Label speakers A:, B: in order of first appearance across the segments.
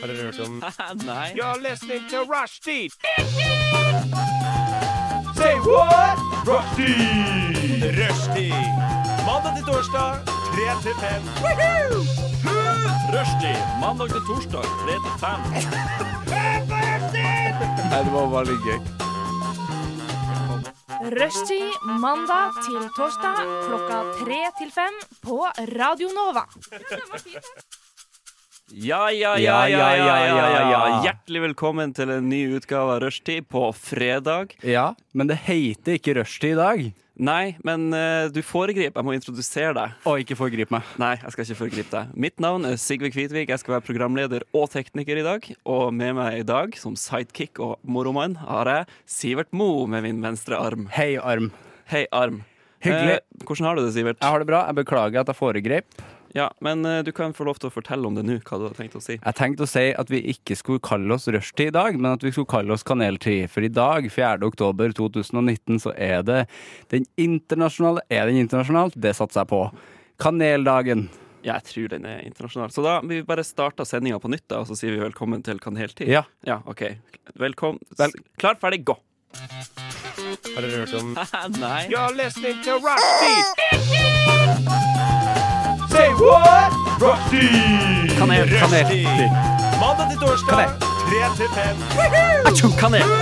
A: Har dere hørt om
B: Nei.
A: You're listening to Rushdie! Say what? Rushdie! Rushdie. Mandag til torsdag, 3 til 5.
B: Rushdie mandag til torsdag 3 til 5.
C: Rushtid mandag til torsdag klokka tre til fem på Radio Nova.
B: Ja, ja, ja, ja, ja, ja, ja, ja. Hjertelig velkommen til en ny utgave av Rushtid på fredag.
D: Ja, men det heter ikke rushtid i dag.
B: Nei, men eh, du foregriper. Jeg må introdusere deg.
D: Å, ikke foregrip meg.
B: Nei, jeg skal ikke foregripe deg. Mitt navn er Sigve Kvitvik. Jeg skal være programleder og tekniker i dag. Og med meg i dag, som sidekick og moromann, har jeg Sivert Mo med min venstre arm.
D: Hei, arm.
B: Hei, arm.
D: Hyggelig.
B: Eh, hvordan har du det, Sivert?
D: Jeg har det bra. Jeg beklager at jeg foregrep.
B: Ja, Men eh, du kan få lov til å fortelle om det nå, hva du har tenkt å si.
D: Jeg tenkte å si at vi ikke skulle kalle oss rushtid i dag, men at vi skulle kalle oss kaneltid. For i dag, 4. oktober 2019, så er det den internasjonale Er den internasjonal? Det satser jeg på. Kaneldagen.
B: Ja, jeg tror den er internasjonal. Så da vi bare starter sendinga på nytt, da, og så sier vi velkommen til Kaneltid.
D: Ja.
B: ja OK. Velkommen.
D: Vel-
B: S- Klar, ferdig, gå!
A: Har dere hørt om
B: Nei.
A: You're listening to Rushdie! Say what? Rushdie!
D: Kanel, kanel.
A: Mandag til torsdag, 3 til 5.
B: Kanel.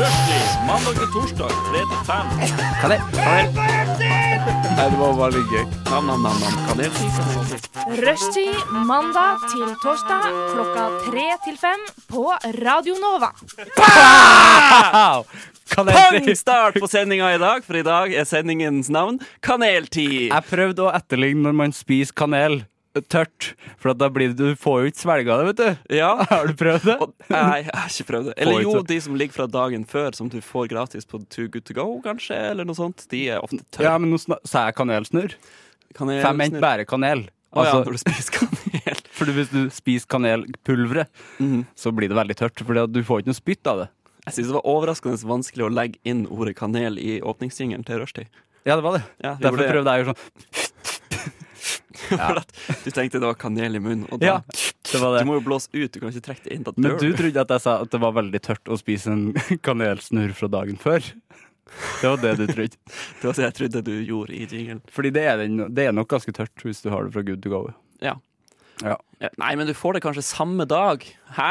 B: Rushdie. Mandag til torsdag, 3 til 5.
D: Kanel. Nei, det var bare litt gøy.
B: Nam, nam, nam, nam. Kaneltid. kaneltid.
C: Rushtid mandag til torsdag klokka tre til fem på Radio Nova.
D: Au!
B: Pang!
D: Kaneltid.
B: Start på sendinga i dag, for i dag er sendingens navn Kaneltid.
D: Jeg prøvde å etterligne når man spiser kanel tørt, for at da blir det, du får jo ikke svelga det, vet du.
B: Ja.
D: Har du prøvd det?
B: Og, nei, jeg har ikke prøvd det. Eller
D: Får
B: jo,
D: ikke.
B: de som ligger fra dagen før, som du får gratis på Too Good To Go, kanskje, eller noe sånt. De er ofte tørre.
D: Ja, men nå sna- sa jeg kanelsnurr.
B: Kanel-
D: For jeg mente bare kanel.
B: Å ja,
D: Altså,
B: når du spiser kanel.
D: for hvis du spiser kanelpulveret, så blir det veldig tørt. For du får ikke noe spytt av det.
B: Jeg synes det var overraskende vanskelig å legge inn ordet kanel i åpningsjingeren til rushtid.
D: Ja, det var det.
B: Ja, vi
D: Derfor
B: gjorde det.
D: prøvde jeg å gjøre sånn.
B: For at Du tenkte det var kanel i munnen, og da
D: Ja, det var
B: Du
D: det.
B: må jo blåse ut, du kan ikke trekke det inn. Da
D: Men
B: dør
D: du
B: du.
D: trodde at jeg sa at det var veldig tørt å spise en kanelsnurr fra dagen før. Det var det du trodde.
B: Det var det jeg trodde du gjorde i jingelen.
D: Fordi det er, den, det er nok ganske tørt hvis du har det fra good to go.
B: Ja.
D: Ja.
B: Ja, Nei, men du får det kanskje samme dag. Hæ?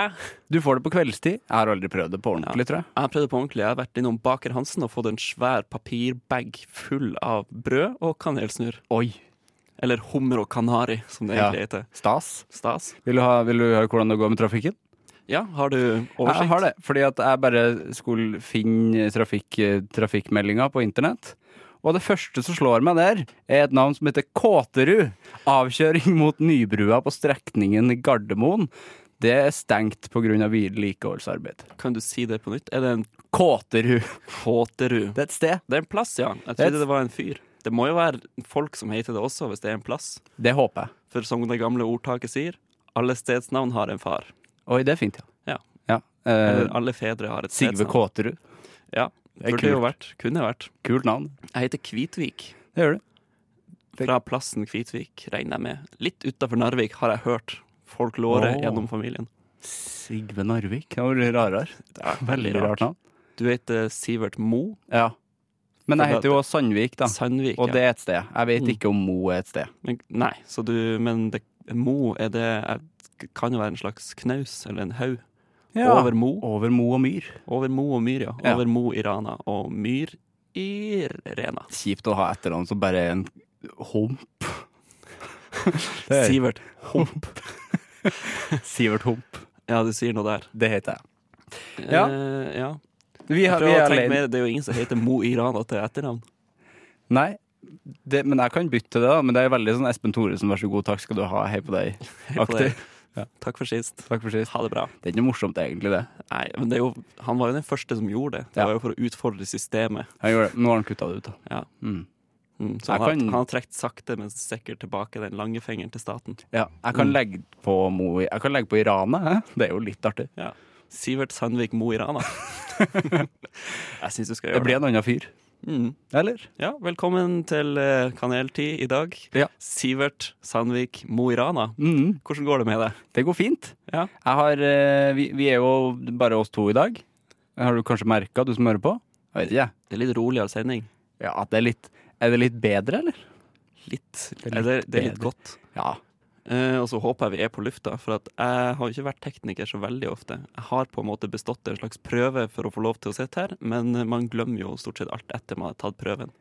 D: Du får det på kveldstid. Jeg har aldri prøvd det på ordentlig, tror jeg.
B: Jeg har prøvd det på ordentlig. Jeg har vært innom Baker Hansen og fått en svær papirbag full av brød og kanelsnurr.
D: Oi,
B: Eller hummer og kanari, som det
D: Ja.
B: egentlig heter.
D: stas.
B: Stas.
D: Vil du, ha, vil du høre hvordan det går med trafikken?
B: Ja, har du oversikt?
D: Jeg har det, fordi at jeg bare skulle finne trafikk, trafikkmeldinga på internett. Og det første som slår meg der, er et navn som heter Kåterud. Avkjøring mot Nybrua på strekningen Gardermoen. Det er stengt pga. vedlikeholdsarbeid.
B: Kan du si det på nytt? Er det en
D: Kåterud.
B: Kåterud?
D: Det er et sted.
B: Det er en plass, ja. Jeg
D: Det er et-
B: trodde det var en fyr. Det må jo være folk som heter det også, hvis det er en plass.
D: Det håper jeg.
B: For som det gamle ordtaket sier, alle stedsnavn har en far.
D: Oi, det er fint,
B: Ja.
D: ja. ja. eh,
B: Eller alle fedre har et
D: Sigve
B: stedsnavn.
D: Kåterud.
B: Ja,
D: Det er
B: burde jo
D: kult.
B: vært. Kunne vært.
D: Kult navn.
B: Jeg heter Kvitvik.
D: Det gjør du. Fikk-
B: Fra plassen Kvitvik, regner jeg med. Litt utafor Narvik, har jeg hørt. Folk lårer
D: Åh.
B: gjennom familien.
D: Sigve Narvik. Det var rarere.
B: Det er
D: Veldig rart navn.
B: Du heter Sivert Mo.
D: Ja. Men jeg
B: For
D: heter jo også Sandvik, da.
B: Sandvik.
D: Og det
B: ja.
D: er et sted. Jeg vet
B: Mm.
D: ikke om Mo er et sted.
B: Men, nei, så du Men det, Mo er det jeg, Kan jo være en slags knaus eller en haug. Over Mo.
D: Over Mo og Myr.
B: Over Mo og Myr, ja.
D: Ja.
B: Over Mo i Rana og Myr i Rena.
D: Kjipt å ha etternavn som bare er en hump. Det er-
B: Sivert Hump.
D: Sivert Hump.
B: Ja, du sier noe der.
D: Det heter jeg. Ja.
B: Eh, ja.
D: Vi har,
B: Prøv
D: vi
B: å
D: er
B: tenke
D: alene.
B: mer, det er jo ingen som heter Mo i Rana til etternavn.
D: Nei, det, men jeg kan bytte til det, da. Men det er veldig sånn Espen Thoresen, vær så god, takk skal du ha, hei på deg.
B: Hei på deg.
D: Aktiv.
B: Takk for sist.
D: Takk for sist.
B: Ha det bra.
D: Det er ikke noe morsomt, egentlig, det.
B: Nei, men det er jo, han var jo den første som gjorde det. Det
D: Ja.
B: var jo for å utfordre systemet.
D: Han gjorde det. Nå har han kutta det ut, da.
B: Ja.
D: Mm.
B: Mm, så
D: Jeg
B: han, har-
D: kan-
B: han har trukket sakte, men sikkert tilbake den lange fingeren til staten.
D: Ja, jeg kan legge på Mo i Jeg kan legge på Irana, hæ? Det er jo litt artig.
B: Ja. Sivert Sandvik Mo i Rana. jeg syns du skal
D: Det
B: gjøre
D: blir
B: det.
D: en annen fyr.
B: Mm.
D: Eller?
B: Ja, velkommen til eh, Kaneltid i dag.
D: Ja.
B: Sivert Sandvik Mo i Rana.
D: Mm.
B: Hvordan går det med deg?
D: Det går fint.
B: Ja.
D: Jeg har, eh, vi, vi er jo bare oss to i dag. Har du kanskje merka, du som hører på? Jeg vet ikke.
B: Det er litt roligere sending.
D: Ja, at det er litt Er det litt bedre, eller?
B: Litt.
D: er litt
B: Eller det er litt
D: bedre.
B: godt.
D: Ja.
B: Eh, og så håper jeg vi er på lufta, for at jeg har jo ikke vært tekniker så veldig ofte. Jeg har på en måte bestått en slags prøve for å få lov til å sitte her, men man glemmer jo stort sett alt etter man har tatt prøven.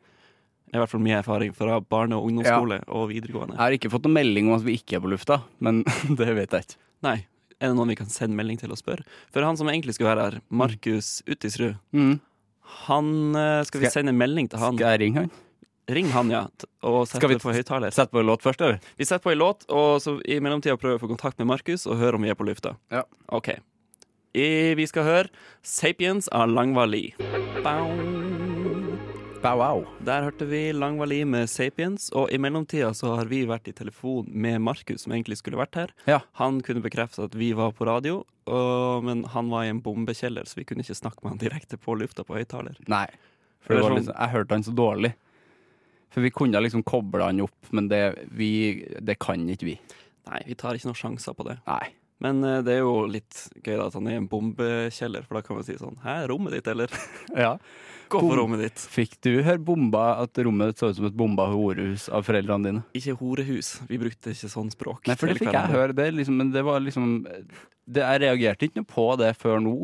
B: Det er i hvert fall min erfaring fra barne- og ungdomsskole og videregående.
D: Jeg har ikke fått noen melding om at vi ikke er på lufta, men det vet jeg ikke.
B: Nei, er det noen vi kan sende melding til og spørre? For han som egentlig skulle være her, Markus Utisrud,
D: Mm.
B: han eh, Skal vi
D: Skal-
B: sende en melding til han?
D: Skal jeg ringe han?
B: Ring han, ja, t- og sette
D: Skal vi-
B: det på høyttaler.
D: Sett på en låt først, eller?
B: Vi setter på en låt, og så i mellomtida prøver vi å få kontakt med Markus og høre om vi er på lufta.
D: Ja.
B: OK. I, vi skal høre 'Sapiens' av Langvali.
D: Bow wow.
B: Der hørte vi Langvali med 'Sapiens', og i mellomtida så har vi vært i telefon med Markus, som egentlig skulle vært her.
D: Ja.
B: Han kunne bekrefte at vi var på radio, og, men han var i en bombekjeller, så vi kunne ikke snakke med han direkte på lufta på høyttaler.
D: Nei. For det
B: Eller
D: var
B: sånn-
D: liksom, jeg hørte han så dårlig. For vi kunne liksom koble han opp, men det, vi, det kan ikke vi.
B: Nei, vi tar ikke noen sjanser på det.
D: Nei.
B: Men eh, det er jo litt gøy da at han er i en bombekjeller, for da kan man si sånn Hæ, rommet ditt, eller?
D: Ja.
B: Gå
D: Bom-
B: på rommet ditt.
D: Fikk du høre bomba at rommet ditt så ut som et bomba horehus av foreldrene dine?
B: Ikke horehus. Vi brukte ikke sånn språk.
D: Nei, for det
B: til
D: fikk jeg
B: hverandre.
D: høre. Det, er liksom, men det var liksom det, Jeg reagerte ikke noe på det før nå.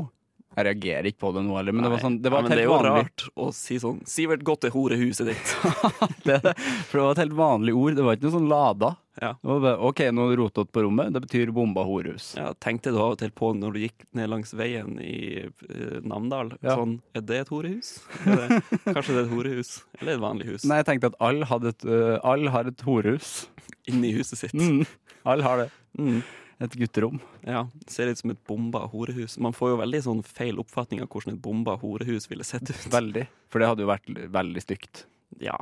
D: Jeg reagerer ikke på det nå heller, men det var
B: Nei.
D: sånn Det var
B: Nei,
D: et
B: men det er
D: helt
B: jo
D: vanlig
B: rart å si sånn Sivert, gå til horehuset ditt.
D: det, er det. For det var et helt vanlig ord. Det var ikke noe sånn lada.
B: Ja.
D: Det var bare, OK, nå rotet på rommet. Det betyr bomba horehus.
B: Ja, tenkte du av og til på når du gikk ned langs veien i eh, Namdal
D: Ja.
B: sånn Er det et horehus? Er det, kanskje det er et horehus? Eller et vanlig hus?
D: Nei, jeg tenkte at alle hadde et, øh, alle har et horehus.
B: Inni huset sitt.
D: Mm. Alle har det.
B: Mm.
D: Et gutterom.
B: Ja, Ser ut som et bomba horehus. Man får jo veldig sånn feil oppfatning av hvordan et bomba horehus ville sett ut.
D: Veldig. For det hadde jo vært l- veldig stygt.
B: Ja,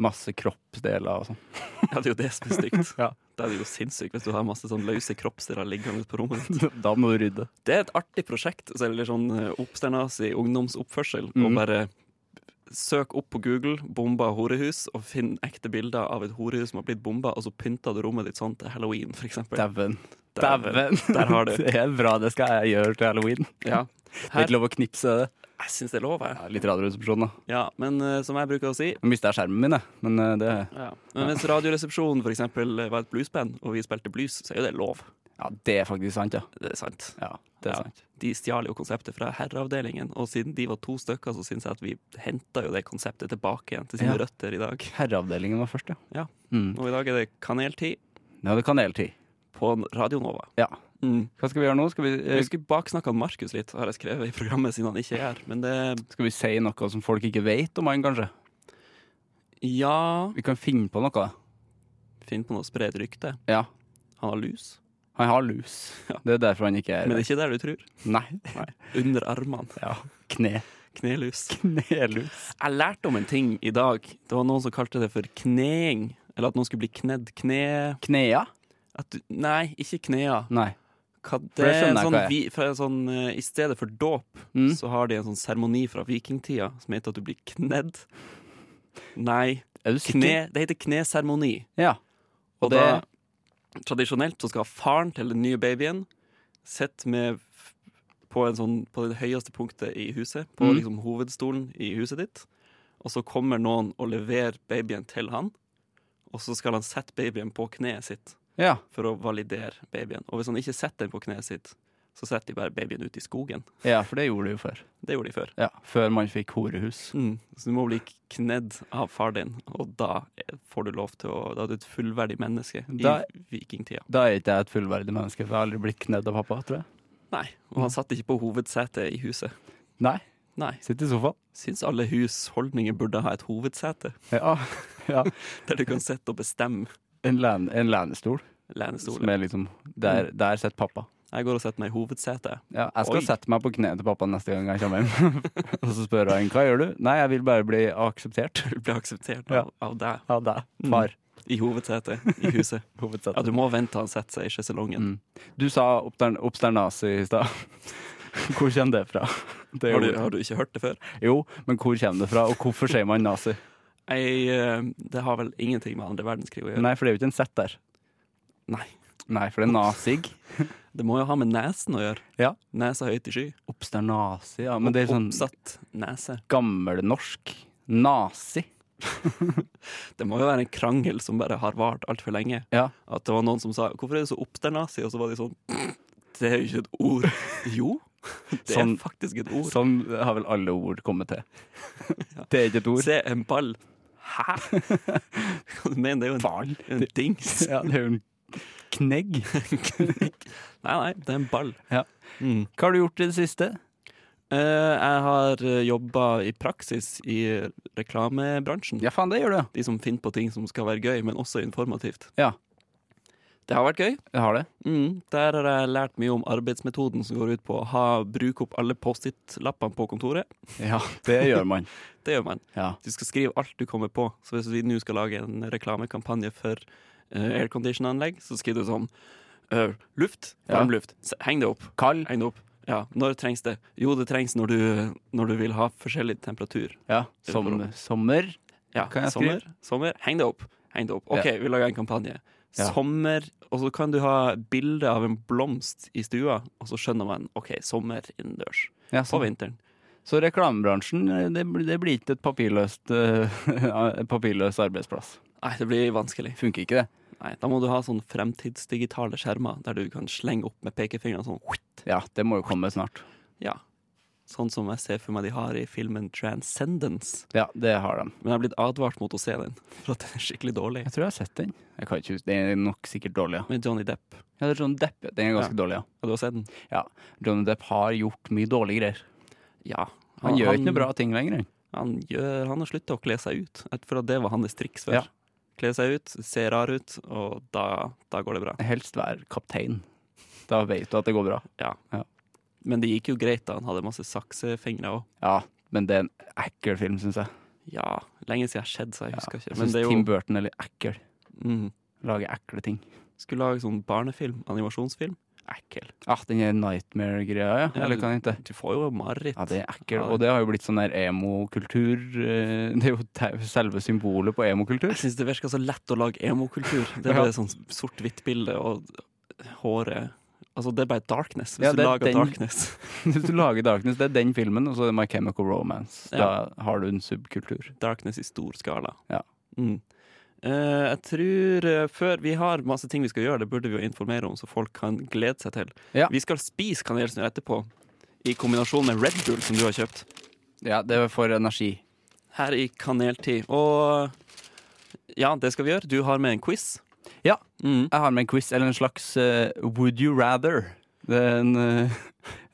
D: Masse kroppsdeler og sånn.
B: ja, det er jo det som er stygt.
D: Ja.
B: Det er jo sinnssykt hvis du har masse sånn løse kroppsdeler liggende på rommet. ditt.
D: Da må du rydde.
B: Det er et artig prosjekt, så- eller sånn eh, oppsternasig ungdomsoppførsel, å
D: Mhm.
B: bare søk opp på Google 'bomba horehus' og finn ekte bilder av et horehus som har blitt bomba, og så pynter du rommet ditt sånn til halloween, for eksempel.
D: Dæven.
B: Dæven. Der har du.
D: Det er bra. Det skal jeg gjøre til halloween.
B: Ja.
D: Det er ikke lov å knipse det.
B: Jeg syns det er lov, jeg.
D: Ja, litt radioresepsjon, da.
B: Ja, men eh, som jeg bruker å si
D: Nå mista jeg skjermen min, jeg. Men eh, det,
B: ja. Men Mens Radioresepsjonen for eksempel eh, var et bluesband, og vi spilte blues, så er jo det lov.
D: ja, det er faktisk sant, ja.
B: Det er sant.
D: ja det er
B: Ja.
D: sant.
B: De stjal jo konseptet fra herreavdelingen, og siden de var to stykker, så syns jeg at vi henta jo det konseptet tilbake igjen til sine
D: Ja.
B: røtter i dag.
D: Herreavdelingen var først, ja.
B: Ja.
D: Mm.
B: Og i dag er det kaneltid.
D: Nå er det kaneltid.
B: på Radio Nova.
D: Ja.
B: Mm.
D: Hva skal vi gjøre nå? Skal vi, eh,
B: Jeg skulle baksnakke han Markus litt, har jeg skrevet i programmet siden han ikke er her. Men det
D: skal vi si noe som folk ikke vet om han, kanskje?
B: Ja
D: Vi kan finne på noe.
B: Finn på noe, spre et rykte.
D: Ja.
B: Han har lus,
D: Han har lus.
B: Ja.
D: Det er derfor han ikke er
B: men det er ikke der du tror.
D: Nei.
B: Under armene.
D: Ja. Kne.
B: Knelus.
D: Knelus.
B: Jeg lærte om en ting i dag. Det var noen som kalte det for kneing. Eller at noen skulle bli knedd. Kne...
D: Knea?
B: At du, nei, ikke knea.
D: Nei.
B: Hva,
D: det
B: det er en
D: skjønner jeg
B: sånn,
D: hva er.
B: vi, for en sånn, eh, I stedet for dåp,
D: Mm.
B: så har de en sånn seremoni fra vikingtida som heter at du blir knedd. Nei,
D: Er du sikker?
B: kne, det heter kneseremoni.
D: Ja.
B: Og,
D: Og det-
B: da, tradisjonelt så skal faren til den nye babyen sitte med f- på, en sånn, på det høyeste punktet i huset, på
D: Mm.
B: liksom hovedstolen i huset ditt. Og så kommer noen og leverer babyen til han, og så skal han sette babyen på kneet sitt
D: Ja.
B: for å validere babyen. Og hvis han ikke setter den på kneet sitt, så setter de bare babyen ut i skogen.
D: ja, for det gjorde du jo før.
B: Det gjorde de før.
D: Ja. Før man fikk horehus.
B: Mm. Så du må bli knedd av far din, og da er- får du lov til å Da er du et fullverdig menneske
D: Da-
B: i vikingtida.
D: Da er ikke jeg et fullverdig menneske, for jeg har aldri blitt knedd av pappa, tror jeg.
B: Nei, og han satt ikke på hovedsetet i huset.
D: Nei.
B: Nei.
D: Sitt i sofaen.
B: Syns alle husholdninger burde ha et hovedsete,
D: Ja. ja.
B: der du kan sitte og bestemme
D: En, len, en lenestol.
B: lenestol.
D: Som er liksom Der, der sitter pappa.
B: Jeg går og setter meg i hovedsetet.
D: Ja, jeg skal
B: Oi.
D: sette meg på kne til pappa neste gang jeg kommer hjem. og så spør han hva gjør du? Nei, jeg vil bare bli akseptert Mm.
B: Du blir akseptert
D: Ja.
B: av, av deg
D: av deg, far.
B: i hovedsetet i huset.
D: Hovedsett.
B: Ja, du må vente til han setter seg i sjeselongen.
D: Mm. Du sa oppstern- oppsternasi i stad. Hvor kommer det fra? Det
B: Har du,
D: gjorde jeg.
B: har du ikke hørt det før?
D: Jo, men hvor kommer det fra, og hvorfor sier man nazi?
B: Jeg, eh, det har vel ingenting med andre verdenskrig å gjøre.
D: Nei, for det er jo ikke en Z der.
B: Nei.
D: Nei, for det er nazig.
B: Det må jo ha med nesen å gjøre.
D: Ja.
B: Nesa høyt i sky.
D: Ops, det er nazi, ja. Men det er sånn
B: Oppsatt nese.
D: gammelnorsk. Nazi.
B: Det må jo være en krangel som bare har vart altfor lenge.
D: Ja.
B: At det var noen som sa 'hvorfor er du så oppsternazi?' Og så var de sånn Det er jo ikke et ord. Jo, det er
D: Sånn-
B: faktisk et ord.
D: Sånn har vel alle ord kommet til. Det er ikke et ord.
B: Se en ball. Hæ? Hva du mener, det er jo en,
D: Ball?
B: en dings.
D: Ja, det er jo en knegg.
B: Nei, nei, det er en ball.
D: Ja.
B: Mm.
D: Hva har du gjort i det siste?
B: Eh, jeg har jobba i praksis i reklamebransjen.
D: Ja, faen, det gjør du.
B: De som finner på ting som skal være gøy, men også informativt.
D: Ja,
B: Det har vært gøy.
D: jeg har det.
B: Mm, der har jeg lært mye om arbeidsmetoden som går ut på å ha, bruke opp alle Post-It-lappene på kontoret.
D: Ja, det gjør man.
B: Det gjør man.
D: Ja.
B: Du skal skrive alt du kommer på. Så hvis vi nå skal lage en reklamekampanje for eh, aircondition-anlegg, så skriver du sånn eh, luft,
D: Ja.
B: varmluft. S- Heng det opp.
D: Kald.
B: Heng det opp. Ja, når trengs det? Jo, det trengs når du, når du vil ha forskjellig temperatur.
D: Ja, som sommer.
B: Ja,
D: Kan jeg
B: sommer, sommer. Heng det opp. Heng det opp. OK, vi lager en kampanje.
D: Ja.
B: Sommer, og så kan du ha bilde av en blomst i stua, og så skjønner man OK, sommer innendørs.
D: Ja, så,
B: På vinteren.
D: så reklamebransjen, det, blir- det blir ikke et papirløst, eh, papirløs arbeidsplass.
B: Nei, det blir vanskelig.
D: Funker ikke det?
B: Nei, Da må du ha sånn fremtidsdigitale skjermer der du kan slenge opp med pekefingeren sånn. whitt.
D: Ja, det må jo komme snart.
B: Ja. Sånn som jeg ser for meg de har i filmen Transcendence.
D: Ja, det har de.
B: Men jeg er blitt advart mot å se den, for at den er skikkelig dårlig.
D: Jeg tror jeg har sett den. Jeg kan ikke huske, Den er nok sikkert dårlig, ja.
B: Med Johnny Depp.
D: ja det er Johnny Depp, ja. den er ganske dårlig, ja.
B: Ja, du har sett den?
D: ja. Johnny Depp har gjort mye dårlige greier.
B: Ja.
D: Han, gjør ikke noe bra ting lenger. han.
B: Han, gjør, han har slutta å kle seg ut, et- for at det var hans triks før.
D: Ja.
B: Kle seg ut, se rar ut, og da, da går det bra.
D: Helst være kaptein. Da vet du at det går bra.
B: Ja.
D: Ja.
B: Men det gikk jo greit, da. Han hadde masse saksefingre òg.
D: Ja, men det er en ekkel film, syns jeg.
B: Ja, lenge siden jeg har skjedd, så jeg husker ikke.
D: Jeg
B: Men
D: syns
B: det er
D: Tim
B: jo
D: Burton er litt ekkel.
B: mm,
D: Lager ekle ting.
B: Skulle lage sånn barnefilm, animasjonsfilm. Ekkel.
D: Ah, den er nightmare-greia, ja.
B: Ja,
D: Eller kan den hete?
B: Du får jo mareritt.
D: Ja, det er ekkel.
B: Ja, det-
D: Og det har jo blitt sånn der emokultur. eh, Det er jo te- selve symbolet på emokultur.
B: Jeg syns det virker så lett å lage emokultur. Det er
D: Ja.
B: bare sånn sort-hvitt-bilde og håret Altså, det er bare darkness. Hvis
D: Ja,
B: du
D: det er
B: lager
D: den-
B: darkness.
D: Hvis du lager Darkness, det er den filmen, og så er det My Chemical Romance.
B: Ja.
D: Da har du en subkultur.
B: Darkness i stor skala.
D: Ja.
B: Mm. Eh, jeg tror eh, før Vi har masse ting vi skal gjøre, det burde vi jo informere om, så folk kan glede seg til.
D: Ja.
B: Vi skal spise kanelsnurr etterpå, i kombinasjon med Red Bull som du har kjøpt.
D: Ja, det er for energi.
B: Her i Kaneltid. Og ja, det skal vi gjøre. Du har med en quiz.
D: Ja.
B: Mm.
D: Jeg har med en quiz, eller en slags eh, Would you rather? Det er en eh,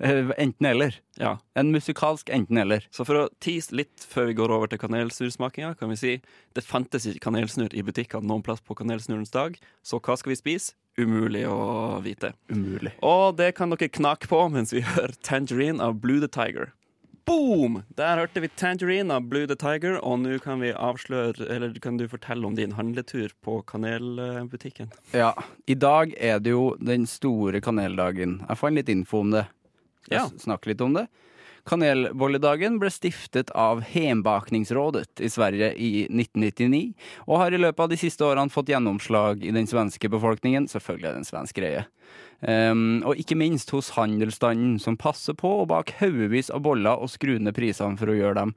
D: enten-eller.
B: ja.
D: En musikalsk enten-eller.
B: Så for å tease litt før vi går over til kanelsnurrsmakinga, kan vi si det fantes ikke kanelsnurr i butikkene noen plass på kanelsnurrens dag, så hva skal vi spise? Umulig å vite.
D: Umulig.
B: Og det kan dere knake på mens vi hører Tangerine av Blue the Tiger. Boom! Der hørte vi Tangerine av Blue the Tiger, og nå kan vi avsløre Eller kan du fortelle om din handletur på kanelbutikken?
D: Ja. I dag er det jo den store kaneldagen. Jeg fant litt info om det. Skal
B: Ja.
D: s- snakke litt om det. Kanelbolledagen ble stiftet av Hembakningsrådet i Sverige i 1999, og har i løpet av de siste årene fått gjennomslag i den svenske befolkningen. Selvfølgelig er det en svensk greie. Ehm, og ikke minst hos handelsstanden, som passer på å bake haugevis av boller og skru ned prisene for å gjøre dem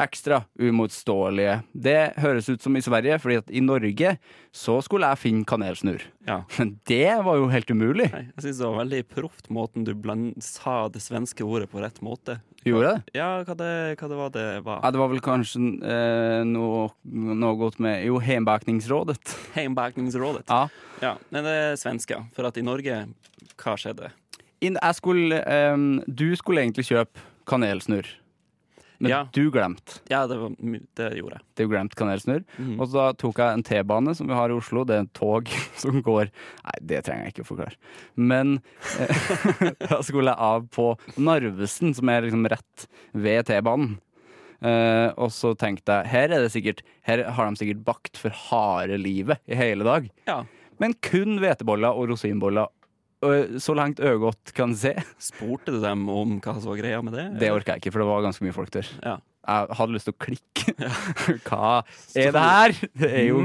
D: ekstra umotståelige. Det høres ut som i Sverige, fordi at i Norge så skulle jeg finne kanelsnurr.
B: Ja.
D: Men det var jo helt umulig.
B: Nei, jeg syns det var veldig proft måten du bland, sa det svenske ordet på rett måte.
D: Gjorde jeg det?
B: Ja, hva det, hva det var det
D: Ja,
B: var?
D: det var vel kanskje eh, noe, noe godt med Jo, Heimbakningsrådet.
B: Heimbakningsrådet.
D: Ja.
B: Ja, men det er svenske. For at i Norge, hva skjedde?
D: Inn- Jeg skulle eh, Du skulle egentlig kjøpe kanelsnurr, men
B: Ja.
D: du glemte.
B: Ja, det, var, my- det gjorde jeg.
D: Du glemte kanelsnurr. Og så da tok jeg en T-bane som vi har i Oslo. Det er en tog som går Nei, det trenger jeg ikke å forklare. Men eh, da skulle jeg av på Narvesen, som er liksom rett ved T-banen. Eh, og så tenkte jeg her er det sikkert Her har de sikkert bakt for harde livet i hele dag.
B: Ja.
D: Men kun hveteboller og rosinboller ø, så langt øyegodt kan se.
B: Spurte du dem om hva som var greia med det?
D: Det orka jeg ikke, for det var ganske mye folk der.
B: Ja.
D: Jeg hadde lyst til å klikke. Hva er det her? Det er jo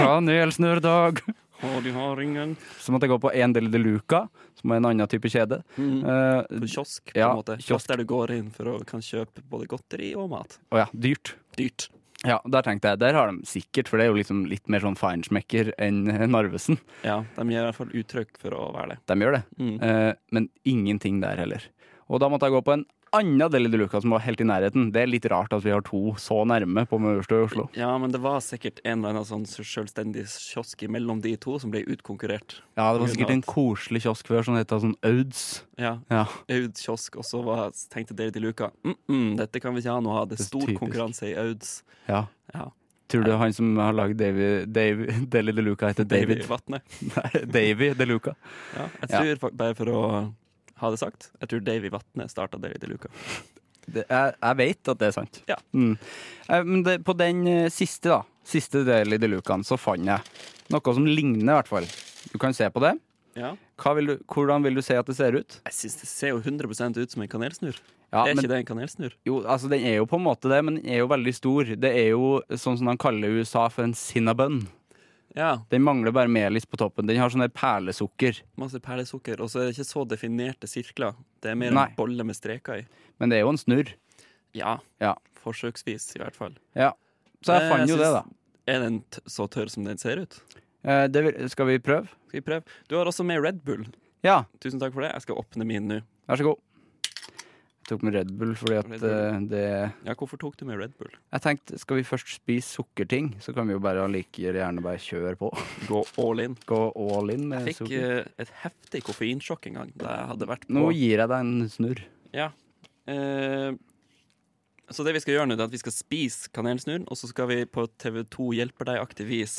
D: Kanel Snørdag.
B: Og de har ingen
D: Så måtte jeg gå på en del de Luca, som er en annen type kjede. Eh,
B: På kiosk, på
D: Ja,
B: en måte. Kiosk
D: kiosk.
B: der du går inn for å kan kjøpe både godteri og mat.
D: og ja, dyrt.
B: Dyrt.
D: Ja, Der tenkte jeg, der har de sikkert, for det er jo liksom litt mer sånn feinschmecker enn Narvesen.
B: Ja, de gir i hvert fall uttrykk for å være det.
D: De gjør det.
B: Mm.
D: Eh, men ingenting der heller. Og da måtte jeg gå på en annen Deli de Luca som var helt i nærheten. Det er litt rart at vi har to så nærme på Møverstø i Oslo.
B: Ja, men det var sikkert en eller annen sånn selvstendig kiosk mellom de to som ble utkonkurrert.
D: Ja, det var sikkert en koselig kiosk før som het sånn Auds.
B: Ja,
D: Ja.
B: Aud kiosk, og så var, tenkte dere til Luka mm -mm, dette kan vi ikke ha nå, det
D: Det
B: er
D: er
B: stor
D: typisk.
B: konkurranse i Auds.
D: ja.
B: Ja,
D: Tror du han som har lagd Davy, Davy, Deli de Luca, heter
B: David
D: David?
B: Vatne.
D: Nei, Davy de Luca.
B: Ja, jeg
D: Ja.
B: tror, fak- bare for å ha det sagt, jeg tror Davy Vatne starta dere til Luka.
D: Det, jeg, jeg vet at det er sant.
B: Ja.
D: Mm. Eh, Men det, på den eh, siste, da, siste Deli de Lucaen, så fant jeg noe som ligner, i hvert fall. Du kan se på det.
B: Ja.
D: Hva vil du, hvordan vil du se at det ser ut?
B: Jeg synes det ser jo 100 ut som en kanelsnurr.
D: Ja,
B: er
D: men-
B: ikke det en kanelsnurr?
D: Jo, altså Den er jo på en måte det, men den er jo veldig stor. Det er jo sånn som de kaller USA for en cinnabun.
B: Ja,
D: Den mangler bare melis på toppen. Den har sånn der perlesukker.
B: masse perlesukker, og så er det ikke så definerte sirkler. Det er mer
D: Nei.
B: en bolle med streker i.
D: Men det er jo en snurr.
B: Ja,
D: Ja.
B: forsøksvis i hvert fall.
D: ja. Så jeg
B: Eh,
D: fant jo det,
B: synes-
D: da.
B: Er den t så tørr som den ser ut?
D: Eh, Det vil, skal vi prøve?
B: Skal vi prøve? Du har også med Red Bull.
D: Ja,
B: Tusen takk for det. Jeg skal åpne min nå.
D: vær så god. Jeg tok med Red Bull fordi at
B: Red Bull.
D: eh, det
B: Ja, hvorfor tok du med Red Bull?
D: Jeg tenkte, skal vi først spise sukkerting, så kan vi jo bare like gjerne bare kjøre på.
B: Gå all in.
D: Gå all in med
B: Jeg fikk
D: sukker.
B: eh, et heftig koffeinsjokk en gang da jeg hadde vært på
D: Nå gir jeg deg en snurr.
B: Ja. Eh, så det vi skal gjøre nå, det er at vi skal spise kanelsnurren, og så skal vi på TV2 hjelper deg-aktig vis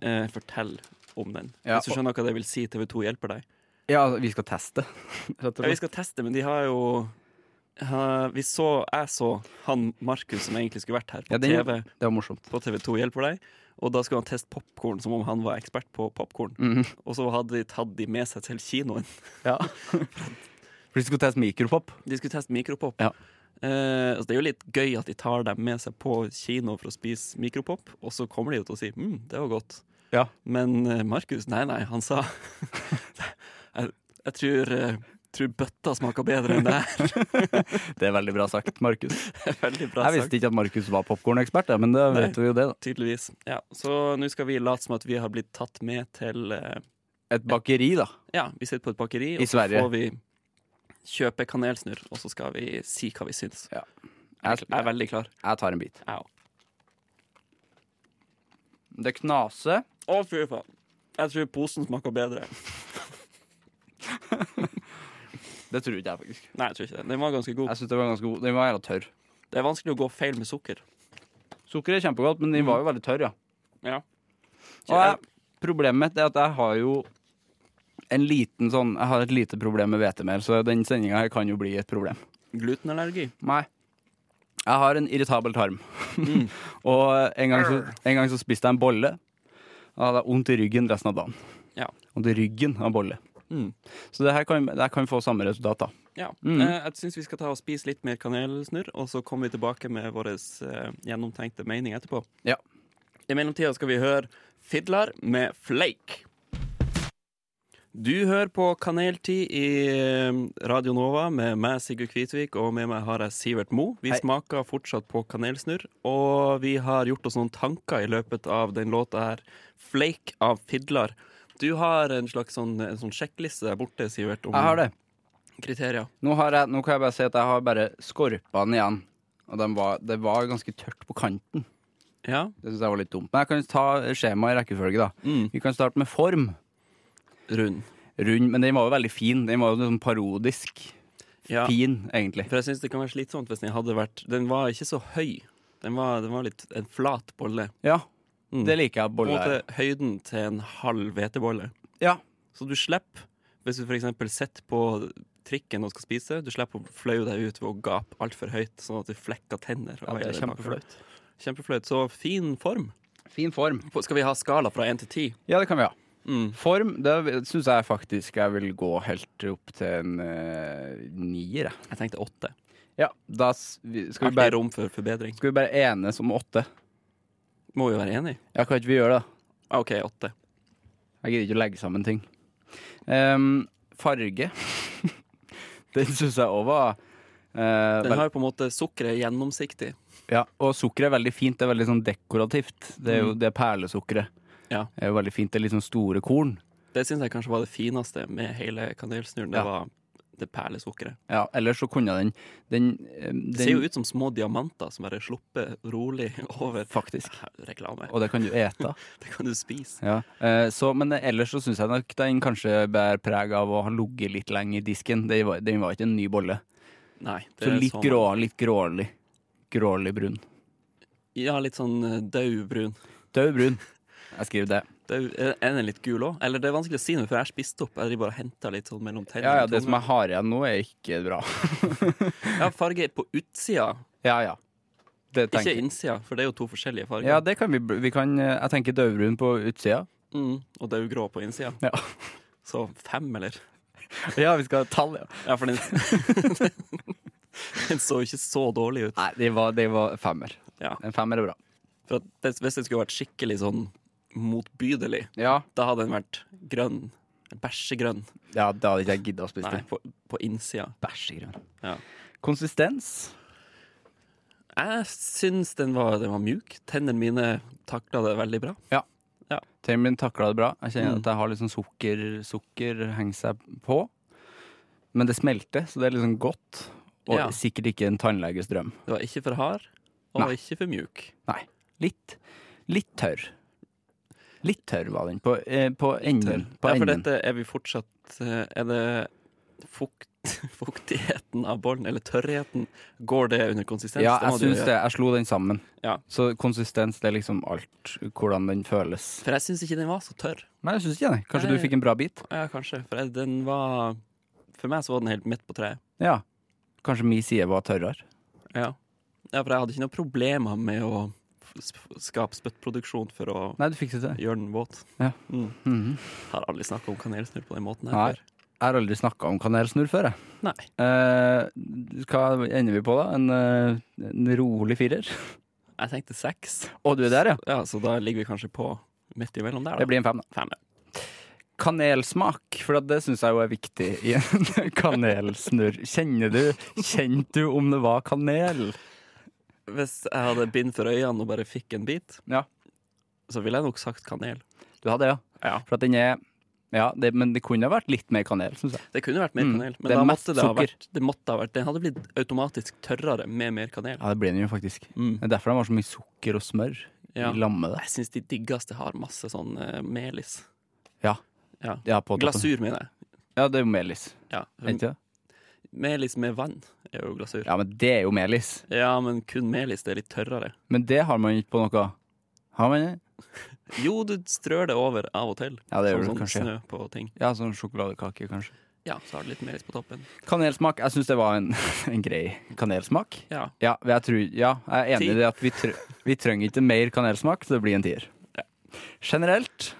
B: eh, fortelle om den.
D: Ja,
B: Hvis du skjønner hva det vil si TV2 hjelper deg.
D: Ja, vi skal teste, rett og
B: Ja, vi
D: slett.
B: skal teste, men de har jo eh, vi så, Jeg så han Markus som egentlig skulle vært her, på
D: Ja, den-
B: TV.
D: Det var morsomt.
B: på TV2 hjelper deg. Og da skulle han teste popkorn som om han var ekspert på popkorn.
D: Mhm.
B: Og så hadde de tatt de med seg til kinoen.
D: Ja. For vi skulle teste mikropop.
B: De skulle teste mikropop.
D: Ja.
B: Eh, altså det er jo litt gøy at de tar dem med seg på kino for å spise mikropop, og så kommer de jo til å si mm, 'det var godt'.
D: Ja.
B: Men eh, Markus, nei, nei, han sa jeg, jeg tror, eh, tror bøtta smaker bedre enn det her.
D: Det er veldig bra sagt, Markus.
B: Veldig bra
D: Jeg visste ikke at Markus var popkornekspert, men da
B: Nei.
D: vet vi jo det, da.
B: Tydeligvis. Ja, så nå skal vi late som at vi har blitt tatt med til eh,
D: Et bakeri, da.
B: Ja, vi sitter på et bakeri, og så
D: Sverige.
B: får vi kjøpe kanelsnurr, og så skal vi si hva vi syns.
D: Ja.
B: Jeg, jeg er veldig klar.
D: Jeg tar en bit.
B: Jeg òg.
D: Det knaser.
B: Å, fy faen. Jeg tror posen smaker bedre.
D: Det tror ikke jeg, faktisk.
B: Nei, jeg tror ikke det. Den var ganske god.
D: Jeg syns den var ganske god. Den var jævla tørr.
B: Det er vanskelig å gå feil med sukker.
D: Sukkeret er kjempegodt, men den var jo veldig tørr, ja.
B: Ja.
D: Og jeg, problemet mitt er at jeg har jo en liten sånn Jeg har et lite problem med hvetemel, så den sendinga her kan jo bli et problem.
B: Glutenallergi.
D: Nei. Jeg har en irritabel tarm. og en gang, så, en gang så spiste jeg en bolle. Da hadde jeg vondt i ryggen resten av dagen.
B: Ja.
D: Vondt i ryggen av bolle.
B: Mm.
D: Så det her kan, det her kan få samme resultat, da.
B: Ja.
D: Mm.
B: Eh, Jeg syns vi skal ta og spise litt mer kanelsnurr, og så kommer vi tilbake med vår eh, gjennomtenkte mening etterpå.
D: Ja.
B: I mellomtida skal vi høre Fiddler med Flake. Du hører på Kaneltid i eh, Radio Nova med meg, Sigurd Kvitvik, og med meg har jeg Sivert Mo. Vi
D: Hei.
B: smaker fortsatt på kanelsnurr, og vi har gjort oss noen tanker i løpet av den låta her, Flake av Fiddler. Du har en slags sånn, en sånn sjekkliste der borte, Sivert, om
D: Jeg har det.
B: kriterier.
D: Nå, har jeg, nå kan jeg bare si at jeg har bare skorpa den igjen. Og den var, det var ganske tørt på kanten.
B: Ja.
D: Det syns jeg var litt dumt. Men jeg kan ta skjemaet i rekkefølge, da.
B: Mm.
D: Vi kan starte med form.
B: Rund.
D: Rund. Men den var jo veldig fin. Den var jo sånn parodisk
B: Ja.
D: fin, egentlig.
B: For jeg syns det kan være slitsomt hvis den hadde vært Den var ikke så høy. Den var, den var litt en flat bolle.
D: Ja.
B: Mm.
D: Det liker jeg.
B: På en
D: Bolle.
B: måte høyden til en halv hvetebolle.
D: Ja.
B: Så du slipper, hvis du f.eks. sitter på trikken og skal spise, du slipper å flaue deg ut ved å gape altfor høyt, sånn at du flekker tenner.
D: ja,
B: og
D: det er
B: hele bakover.
D: kjempeflaut.
B: Kjempeflaut. Så eh, fin form.
D: Fin form.
B: Skal vi ha skala fra én til ti?
D: Ja, det kan vi ha.
B: Mm.
D: Form, det syns jeg faktisk jeg vil gå helt opp til en eh, nier, jeg.
B: Jeg tenkte åtte.
D: Ja, da s- vi- skal vi,
B: Artig
D: bare,
B: rom for forbedring.
D: skal vi bare enes om åtte.
B: Må jo være enig.
D: Ja, kan ikke vi gjøre det?
B: Ah, OK, åtte.
D: Jeg gidder ikke å legge sammen ting. Ehm, farge. Den syns jeg òg var eh,
B: Den
D: vel-
B: har jo på en måte sukkeret er gjennomsiktig.
D: ja, Og sukkeret er veldig fint. Det er veldig sånn dekorativt. Det er jo
B: Mm.
D: det perlesukkeret.
B: Ja.
D: Det er jo veldig fint. Det er litt sånn store korn.
B: Det syns jeg kanskje var det fineste med hele kanelsnurren. Det
D: Ja.
B: var det perlesukkeret.
D: Ja, ellers så kunne den Den, ehm, den
B: Det ser jo ut som små diamanter som bare slupper rolig over.
D: Faktisk.
B: Reklame.
D: Og det kan du ete.
B: Det kan du spise.
D: Ja, eh, så, men ellers så syns jeg nok den kanskje bærer preg av å ha ligget litt lenge i disken. Den var, den var ikke en ny bolle.
B: Nei. det
D: Så
B: er
D: litt
B: sånn-
D: grå, litt grålig. Grålig brun.
B: Ja, litt sånn eh, daud brun.
D: Død brun. Jeg skriver det.
B: Daud- Er er den litt gul òg? Eller det er vanskelig å si nå, for jeg har spist opp. Jeg driver bare og henter litt sånn mellom tennene.
D: Ja, ja,
B: og
D: det som
B: tunga.
D: jeg har igjen nå, er ikke bra.
B: ja, farge på utsida,
D: Ja, ja. Det
B: ikke
D: tenker jeg.
B: innsida, for det er jo to forskjellige farger.
D: Ja, det kan vi, bl- vi kan eh, Jeg tenker døvbrun på utsida.
B: mm, og daudgrå på innsida.
D: Ja.
B: Så fem, eller?
D: Ja, vi skal ha tall, ja.
B: Ja, for den Den så jo ikke så dårlig ut.
D: Nei, det var, det var femmer.
B: Ja.
D: En femmer er bra.
B: For at det, Hvis den skulle vært skikkelig sånn motbydelig,
D: Ja,
B: da hadde den vært grønn. Bæsjegrønn.
D: ja da hadde ikke jeg gidda å spise
B: Nei,
D: den.
B: på, på innsida.
D: Bæsjegrønn.
B: Ja.
D: Konsistens.
B: Jeg syns den var, den var mjuk. Tennene mine takla det veldig bra.
D: Tennene mine takla det bra. Jeg kjenner
B: Mm.
D: at jeg har litt sånn sukker Sukker henger seg på. Men det smelter, så det er liksom godt. Og
B: Ja.
D: sikkert ikke en tannleges drøm.
B: Det var ikke for hard, og
D: Nei.
B: ikke for mjuk.
D: Nei. Litt, litt tørr. Litt tørr var den. På, eh, på enden. På
B: ja, for
D: enden.
B: dette er vi fortsatt eh, Er det fukt, fuktigheten av bollen, eller tørrheten? Går det under konsistens?
D: Ja,
B: må
D: jeg
B: du
D: syns
B: gjøre.
D: det. Jeg slo den sammen.
B: Ja.
D: Så konsistens, det er liksom alt. Hvordan den føles.
B: For jeg syns ikke den var så tørr.
D: Nei, jeg syns ikke det. Kanskje
B: Nei.
D: du fikk en bra bit?
B: Ja, kanskje. For jeg, den var For meg så var den helt midt på treet.
D: Ja. Kanskje min side var tørrere.
B: Ja. ja, for jeg hadde ikke noen problemer med å f- sp- skape spyttproduksjon for å
D: Nei, du fikset det.
B: gjøre den våt.
D: Ja.
B: Mm.
D: Mhm.
B: Har aldri snakka om kanelsnurr på den måten
D: Nei.
B: her før.
D: Jeg har aldri snakka om kanelsnurr før, jeg.
B: Nei.
D: Eh, hva ender vi på, da? En, eh, en rolig firer?
B: Jeg tenkte seks.
D: Å, du er der, ja.
B: Ja, så da ligger vi kanskje på midt imellom der, da.
D: Det blir en fem, da.
B: Fem, ja.
D: Kanelsmak, for at det syns jeg jo er viktig i en kanelsnurr. Kjenner du Kjente du om det var kanel?
B: Hvis jeg hadde bind for øynene og bare fikk en bit,
D: Ja.
B: så ville jeg nok sagt kanel.
D: Du hadde, ja.
B: Ja.
D: For at den er Ja, det, men det kunne ha vært litt mer kanel, syns jeg.
B: Det kunne vært mer
D: Mm.
B: kanel, men
D: Det er
B: da
D: mest
B: måtte det ha
D: sukker.
B: vært, det måtte ha vært Den hadde blitt automatisk tørrere med mer kanel.
D: Ja, det ble den jo faktisk.
B: Mm.
D: Det er derfor den var så mye sukker og smør
B: Ja.
D: i lamme der.
B: Jeg syns de diggeste har masse sånn eh, melis.
D: Ja.
B: Ja.
D: Ja, på toppen.
B: Glasur, mener jeg.
D: Ja, det er jo melis.
B: Ja.
D: Er ikke det?
B: Melis med vann er jo glasur. Ja.
D: Ja, men det er jo melis.
B: men kun melis. Det er litt tørrere.
D: Men det har man ikke på noe. Har man det?
B: Jo, du strør det over av og til.
D: Ja, det gjør
B: som
D: du
B: sånn
D: kanskje,
B: snø på ting.
D: Ja, sånn sjokoladekake, kanskje.
B: Ja, så har du litt melis på toppen.
D: Kanelsmak. Jeg syns det var en, en grei kanelsmak.
B: Ja.
D: Ja, men jeg, tror, ja, jeg er enig
B: Ti.
D: i det at vi, tr vi trenger ikke mer kanelsmak, så det blir en tier.
B: Ja.
D: Generelt,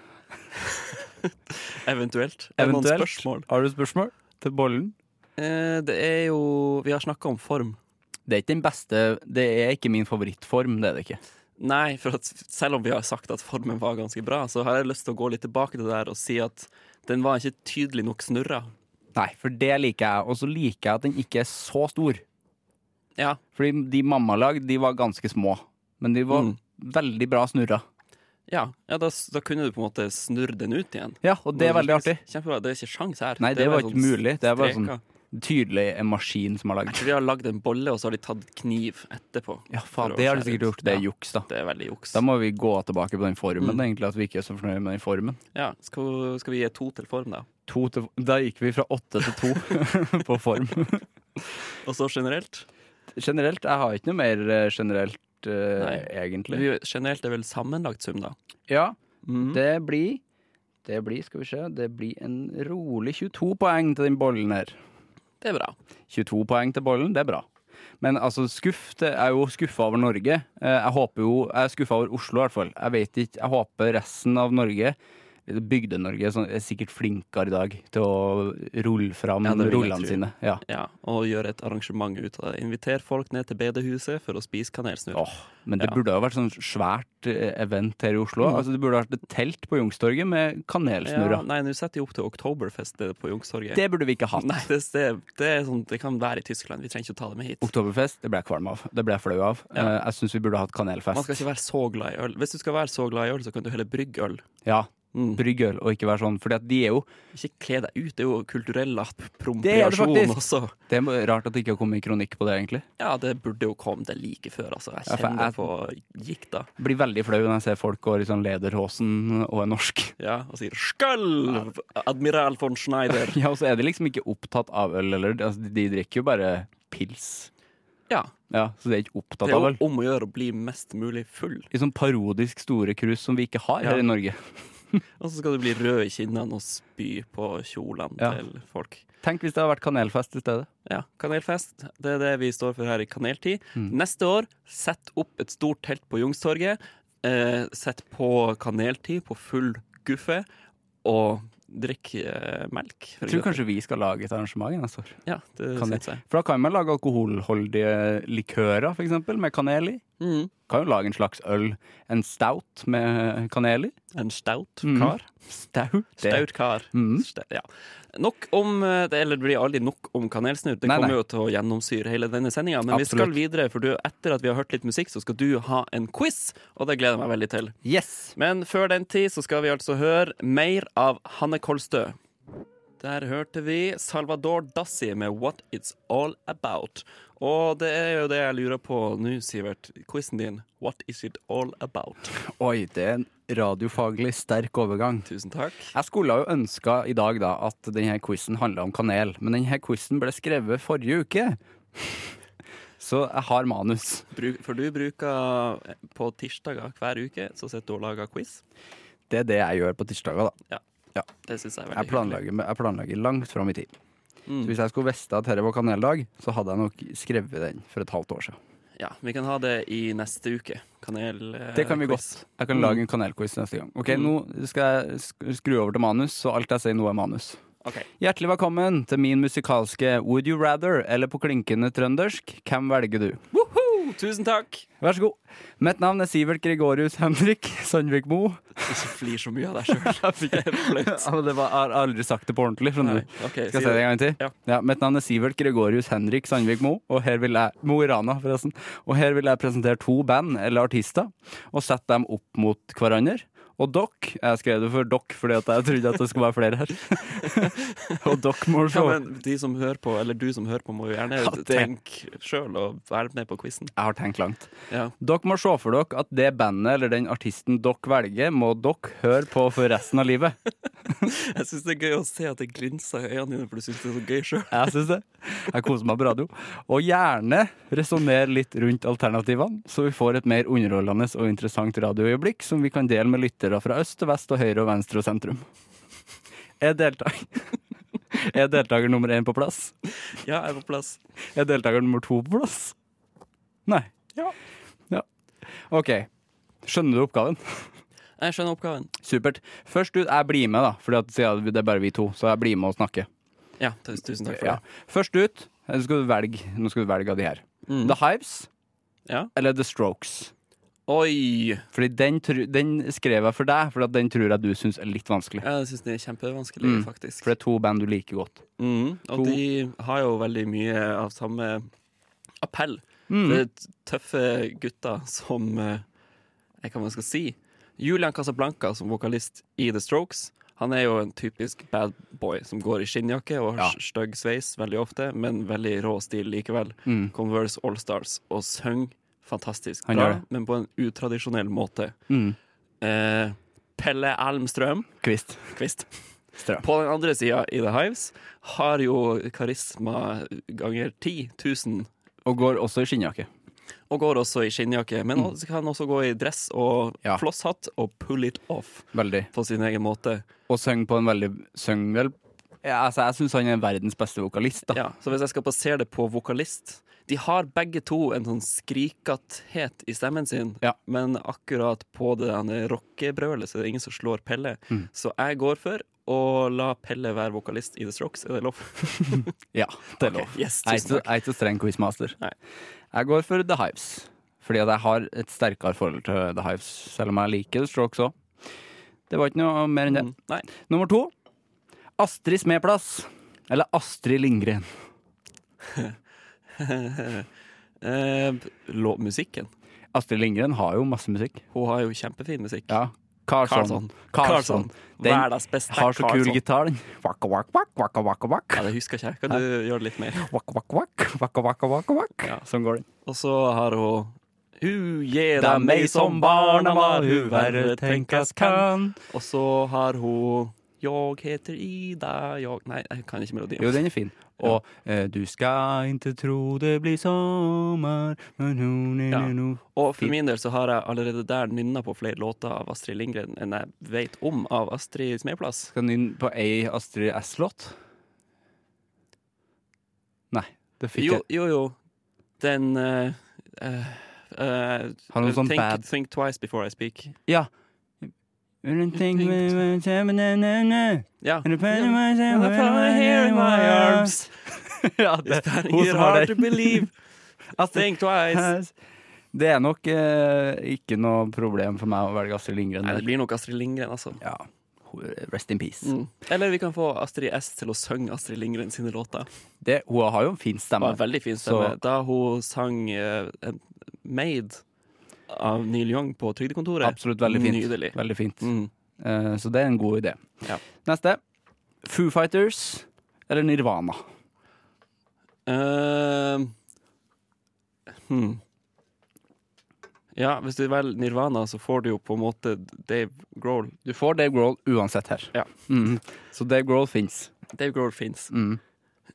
B: Eventuelt. Er det noen
D: eventuelt,
B: spørsmål?
D: har du spørsmål til bollen?
B: Eh, det er jo Vi har snakka om form.
D: Det er ikke den beste, det er ikke min favorittform, det er det ikke.
B: Nei, for at selv om vi har sagt at formen var ganske bra, så har jeg lyst til å gå litt tilbake til det der og si at den var ikke tydelig nok snurra.
D: Nei, for det liker jeg, og så liker jeg at den ikke er så stor.
B: Ja,
D: Fordi de mammalag, de var ganske små, men de var
B: Mm.
D: veldig bra snurra.
B: ja, ja da, s- da kunne du på en måte snurre den ut igjen.
D: Ja, og det er veldig artig.
B: Kjempebra. Det er ikke sjans her.
D: Nei, det
B: er
D: var
B: bare
D: ikke mulig. Det er bare sånn-
B: streker.
D: Tydelig en maskin som har
B: Jeg
D: lagd.
B: tror de har lagd en bolle, og så har de tatt kniv etterpå.
D: Ja,
B: For
D: faen,
B: å
D: det har de
B: skjære
D: sikkert
B: ut.
D: gjort. Det er
B: Ja.
D: juks, da.
B: Det er veldig juks.
D: Da må vi gå tilbake på den formen,
B: Mm.
D: egentlig, at vi ikke er så fornøyd med den formen.
B: Ja, skal, skal vi gi to til form, da?
D: to til, da gikk vi fra åtte til to på form.
B: Og så generelt?
D: Generelt, jeg har ikke noe mer eh, generelt eh,
B: Nei.
D: egentlig.
B: Vi- Generelt er vel sammenlagt sum, da?
D: Ja,
B: Mhm.
D: det blir det blir, skal vi se, det blir en rolig 22 poeng til den bollen her.
B: det er bra.
D: 22 poeng til bollen, det er bra. Men altså, skuff, det er jo skuffa over Norge. Eh, Jeg håper jo, jeg er skuffa over Oslo i hvert fall. Jeg vet ikke, jeg håper resten av Norge Bygde-Norge er sånn- er sikkert flinkere i dag til å rulle fram
B: Ja, det vil jeg
D: rullene
B: tro.
D: sine. Ja.
B: Ja, og gjøre et arrangement ut av det. Inviter folk ned til bedehuset for å spise kanelsnurr.
D: Åh, men det
B: Ja. Mm.
D: burde jo vært sånn svært eh, event her i Oslo. Altså, det burde vært et telt på Youngstorget med
B: ja,
D: kanelsnurrer.
B: nei, nå setter de opp til Oktoberfest det er på Youngstorget.
D: Det burde vi ikke hatt.
B: Nei, det, det, det, er sånn, det kan være i Tyskland. Vi trenger ikke å ta det med hit.
D: Oktoberfest, det ble jeg kvalm av. Det ble jeg flau av.
B: Ja.
D: Eh, Jeg syns vi burde hatt
B: Man
D: kanelfest.
B: skal ikke være så glad i øl. Hvis du skal være så glad i øl, så kan du heller brygge øl.
D: Ja,
B: Mm.
D: Brygg øl, og ikke være sånn. For de er jo
B: Ikke kle deg ut. Det er jo kulturell
D: Det er det
B: appropriasjon
D: faktisk.
B: også.
D: Det er rart at det ikke har kommet kronikk på det, egentlig.
B: Ja, det burde jo komme det like før, altså. Jeg
D: Ja, for
B: kjenner
D: jeg-
B: det på gikta.
D: Jeg blir veldig flau når jeg ser folk går i sånn lederhosen og er norsk.
B: Ja, og sier 'skølv, admiral von Schneider'.
D: Ja, og så er de liksom ikke opptatt av øl, eller altså, de drikker jo bare pils.
B: Ja.
D: Ja, Så de er ikke opptatt
B: Det er
D: av
B: jo
D: øl.
B: om å gjøre å bli mest mulig full.
D: I sånn parodisk store krus som vi ikke har her
B: Ja.
D: i Norge.
B: Og så skal du bli rød i kinnene og spy på kjolene
D: Ja.
B: til folk.
D: Tenk hvis det hadde vært kanelfest i stedet.
B: Ja, Kanelfest. Det er det vi står for her i Kaneltid.
D: Mm.
B: Neste år, sett opp et stort telt på Youngstorget. Eh, sett på Kaneltid på full guffe. Og drikk eh, melk. for
D: Jeg tror
B: eksempel.
D: kanskje vi skal lage et arrangement neste år.
B: Ja, det
D: Kanel.
B: syns jeg.
D: For da kan man lage alkoholholdige likører, f.eks., med kanel i.
B: Mm.
D: Kan jo lage en slags øl. En stout med kanel i.
B: En staut
D: Mm.
B: kar.
D: Stout? Det-
B: Staut kar.
D: Mm.
B: Ste- Ja. Nok om eh, det, Eller det blir aldri nok om kanelsnurr. Det
D: Nei,
B: kommer
D: nei.
B: jo til å gjennomsyre hele denne sendinga. Men vi
D: Absolutt.
B: skal videre, for du, etter at vi har hørt litt musikk, så skal du ha en quiz, og det gleder jeg meg veldig til.
D: Yes!
B: Men før den tid så skal vi altså høre mer av Hanne Kolstø. Der hørte vi Salvador Dassi med What It's All About. Og det er jo det jeg lurer på nå, Sivert. Quizen din. What is it all about?
D: Oi, det er en radiofaglig sterk overgang.
B: Tusen takk.
D: Jeg skulle jo ønska i dag da at denne quizen handla om kanel, men denne quizen ble skrevet forrige uke. Så jeg har manus.
B: Bruk, for du bruker eh, på tirsdager hver uke, så sitter du og lager quiz.
D: Det er det jeg gjør på tirsdager, da.
B: Ja.
D: Ja.
B: Det syns jeg er veldig
D: Jeg planlegger, jeg planlegger langt fram i tid.
B: Mm.
D: Så hvis jeg skulle visst at dette var kaneldag, så hadde jeg nok skrevet den for et halvt år siden.
B: hyggelig. Ja, Vi kan ha det i neste uke. Kanel eh,
D: Det kan vi
B: quiz. Mm.
D: godt. Jeg kan lage en kanelquiz neste gang. Ok, Nå skal jeg sk- skru over til manus, så alt jeg sier nå er manus.
B: Ok.
D: Hjertelig velkommen til min musikalske Would you rather, eller på klinkende trøndersk, hvem velger du?
B: Woohoo! Tusen takk!
D: Vær så god. Mitt navn er Sivert Gregorius Henrik Sandvik Mo.
B: Ikke flir så mye av deg sjøl. Det er flaut.
D: Ja, men det var, jeg har aldri sagt det på ordentlig, skjønner
B: Nei,
D: du.
B: ok,
D: Skal jeg
B: si
D: si det
B: det.
D: en gang til?
B: Ja.
D: Mitt navn er Sivert Gregorius Henrik Sandvik Mo, og her vil jeg Mo i Rana, forresten. Og her vil jeg presentere to band, eller artister, og sette dem opp mot hverandre. Og dere Jeg skrev det for dere fordi at jeg trodde at det skulle være flere her. og dere må se.
B: Ja, men de som hører på, eller du som hører på, må jo gjerne
D: Ja, det-
B: tenke sjøl og være med på quizen.
D: Jeg har tenkt langt.
B: Ja.
D: Dere må se for dere at det bandet eller den artisten dere velger, må dere høre på for resten av livet.
B: Jeg syns det er gøy å se at det glinser i øynene dine, for du syns det er så gøy sjøl.
D: Jeg syns det. Jeg koser meg på radio. Og gjerne resonnere litt rundt alternativene, så vi får et mer underholdende og interessant radioøyeblikk som vi kan dele med lyttere fra øst til vest og høyre og venstre og sentrum. Er deltaker, er deltaker nummer én på plass?
B: Ja, jeg er på plass.
D: Er deltaker nummer to på plass? Nei.
B: Ja.
D: ja. OK. Skjønner du oppgaven?
B: Jeg skjønner oppgaven.
D: Supert. Først ut, jeg blir med, da, for det er bare vi to. Så jeg blir med og snakker.
B: Ja, tusen tusen takk for
D: Ja.
B: det.
D: Først ut, nå skal du velge, nå skal du velge av de her.
B: Mm.
D: The Hives
B: Ja.
D: eller The Strokes.
B: Oi!
D: Fordi den, tru- den skrev jeg for deg, for at den tror jeg du syns er litt vanskelig.
B: Jeg syns det er kjempevanskelig,
D: Mm.
B: faktisk.
D: For det er to band du liker godt.
B: Mm.
D: To.
B: Og de har jo veldig mye av samme appell.
D: Mm.
B: Det er t- tøffe gutter som eh, Jeg vet ikke hva man skal si. Julian Casablanca som vokalist i The Strokes. Han er jo en typisk bad boy som går i skinnjakke og har
D: Ja.
B: s- stygg sveis veldig ofte, men veldig rå stil likevel. Converse All Stars og synger fantastisk
D: Mm. Han gjør
B: bra,
D: det.
B: men på en utradisjonell måte.
D: Mm.
B: Eh, Pelle Almstrøm
D: Kvist.
B: Kvist.
D: Strøm.
B: På den andre sida i The Hives har jo karisma ganger 10 000,
D: Og går også i skinnjakke.
B: og går også i skinnjakke. Men også, kan også gå i dress og
D: Mm. Ja.
B: flosshatt og pull it off
D: Veldig.
B: på sin egen måte.
D: Og synger på en veldig Synger vel Ja, altså, jeg syns han er verdens beste vokalist. da
B: Ja, så hvis jeg skal basere det på vokalist De har begge to en sånn skrikatthet i stemmen sin,
D: Ja.
B: men akkurat på det derne rockebrølet så er det ingen som slår Pelle.
D: Mm.
B: Så jeg går for å la Pelle være vokalist i The Strokes. Er det lov?
D: Ja, det er
B: Ok,
D: lov.
B: yes,
D: jeg er
B: tusen
D: ikke-
B: takk.
D: jeg er ikke så streng quizmaster.
B: Nei.
D: Jeg går for The Hives. Fordi at jeg har et sterkere forhold til The Hives, selv om jeg liker The Strokes òg. Det var ikke noe mer enn det.
B: Mm, Nei.
D: Nummer to. Astrid Smeplass. Eller Astrid Lindgren.
B: Eh, lå- musikken.
D: Astrid Lindgren har jo masse musikk.
B: Hun har jo kjempefin musikk.
D: Ja. Carlson.
B: Carlson. Carlson.
D: Den
B: Verdens beste
D: har så kul
B: Carlson.
D: gitar, den. Waka, waka, waka, waka, waka,
B: Ja,
D: waka.
B: det husker jeg ikke. Kan du gjøre det litt mer?
D: Waka, waka, waka, waka, waka, waka, waka.
B: Ja.
D: Sånn går den.
B: Og så har hun Hu gjeda meg som barna var, hu verre tenkas kan. Og så har hun Jeg heter Ida, jeg Nei, jeg kan ikke melodien.
D: Jo, den er fin. Og eh, du skal ikke tro det blir sommer nu, nu, nu,
B: Ja.
D: nu, nu.
B: Og for
D: Fint.
B: min del så har jeg allerede der nynna på flere låter av Astrid Lindgren enn jeg vet om av Astrid Smeplass.
D: Skal den inn på ei Astrid S-låt? Nei, det fikk
B: Jo,
D: jeg.
B: jo, jo. Den eh, eh, eh,
D: Har noe sånn
B: think,
D: bad-
B: think twice before I speak.
D: Ja. Rundt ting med- med- med- med- med- med-
B: Ja.
D: And the pain in
B: ja.
D: my-
B: I found a hair in my arms.
D: Ja, det
B: It's turning
D: hun
B: it
D: som har
B: hard
D: det.
B: to believe.
D: Astrid
B: Think twice.
D: S. Det er nok eh, ikke noe problem for meg å velge Astrid Lindgren.
B: Nei, det
D: Der.
B: blir nok Astrid Lindgren, altså.
D: Ja. Rest in peace.
B: Mm. Eller vi kan få Astrid S til å synge Astrid Lindgren sine låter.
D: Det, hun har jo en fin
B: Det var
D: stemme.
B: en veldig fin stemme.
D: Så-
B: Da hun sang eh, en Made av Neil Young på Trygdekontoret.
D: Absolutt veldig fint.
B: Nydelig.
D: Veldig fint.
B: Mm.
D: Eh, Så det er en god idé.
B: Ja.
D: Neste. Foo Fighters eller Nirvana?
B: Eh, hmm. Ja, hvis du velger Nirvana, så får du jo på en måte Dave Grohl.
D: Du får Dave Grohl uansett her.
B: Ja.
D: Mhm. Så Dave Grohl fins.
B: Dave Grohl fins.
D: Mhm.